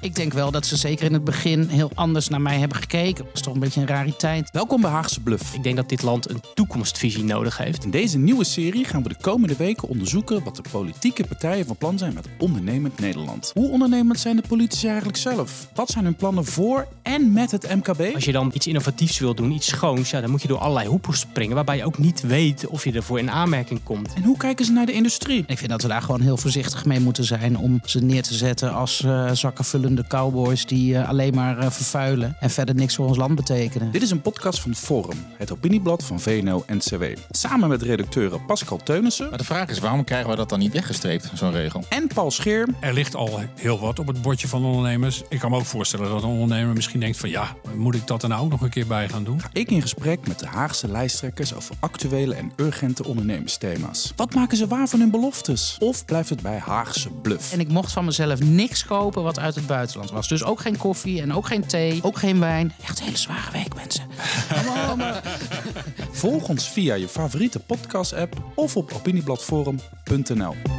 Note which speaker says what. Speaker 1: Ik denk wel dat ze zeker in het begin heel anders naar mij hebben gekeken. Dat is toch een beetje een rariteit.
Speaker 2: Welkom bij Haagse Bluff.
Speaker 3: Ik denk dat dit land een toekomstvisie nodig heeft.
Speaker 2: In deze nieuwe serie gaan we de komende weken onderzoeken wat de politieke partijen van plan zijn met ondernemend Nederland. Hoe ondernemend zijn de politici eigenlijk zelf? Wat zijn hun plannen voor en met het MKB?
Speaker 3: Als je dan iets innovatiefs wil doen, iets schoons, ja, dan moet je door allerlei hoepels springen. Waarbij je ook niet weet of je ervoor in aanmerking komt.
Speaker 2: En hoe kijken ze naar de industrie?
Speaker 1: Ik vind dat we daar gewoon heel voorzichtig mee moeten zijn om ze neer te zetten als eh, zakkenvullende cowboys die eh, alleen maar eh, vervuilen en verder niks voor ons land betekenen.
Speaker 2: Dit is een podcast van Forum, het opinieblad van VNO-NCW. Samen met redacteuren Pascal Teunissen
Speaker 4: Maar de vraag is, waarom krijgen we dat dan niet weggestreept, zo'n regel?
Speaker 2: en Paul Scheer.
Speaker 5: Er ligt al heel wat op het bordje van ondernemers. Ik kan me ook voorstellen dat een ondernemer misschien denkt van ja, moet ik dat er nou ook nog een keer bij gaan doen?
Speaker 2: Ik in gesprek met de Haagse lijsttrekkers over actuele en urgente ondernemersthema's. Wat maken ze waar van hun beloftes? Of blijft het bij Haagse bluff?
Speaker 1: En ik mocht van mezelf niks kopen wat uit het buitenland was. Dus ook geen koffie en ook geen thee, ook geen wijn. Echt een hele zware week, mensen.
Speaker 2: Volg ons via je favoriete podcast-app of op opiniebladforum.nl.